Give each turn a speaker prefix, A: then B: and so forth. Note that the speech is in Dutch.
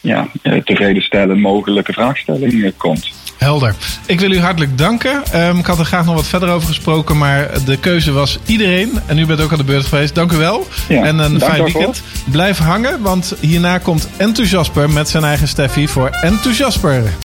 A: ja, eh, tevreden stellen mogelijke vraagstelling komt.
B: Helder. Ik wil u hartelijk danken. Um, ik had er graag nog wat verder over gesproken, maar de keuze was iedereen. En u bent ook aan de beurt geweest. Dank u wel. Ja, en een fijn weekend. Blijf hangen, want hierna komt Enthousiasper met zijn eigen Steffi voor Enthousiasper.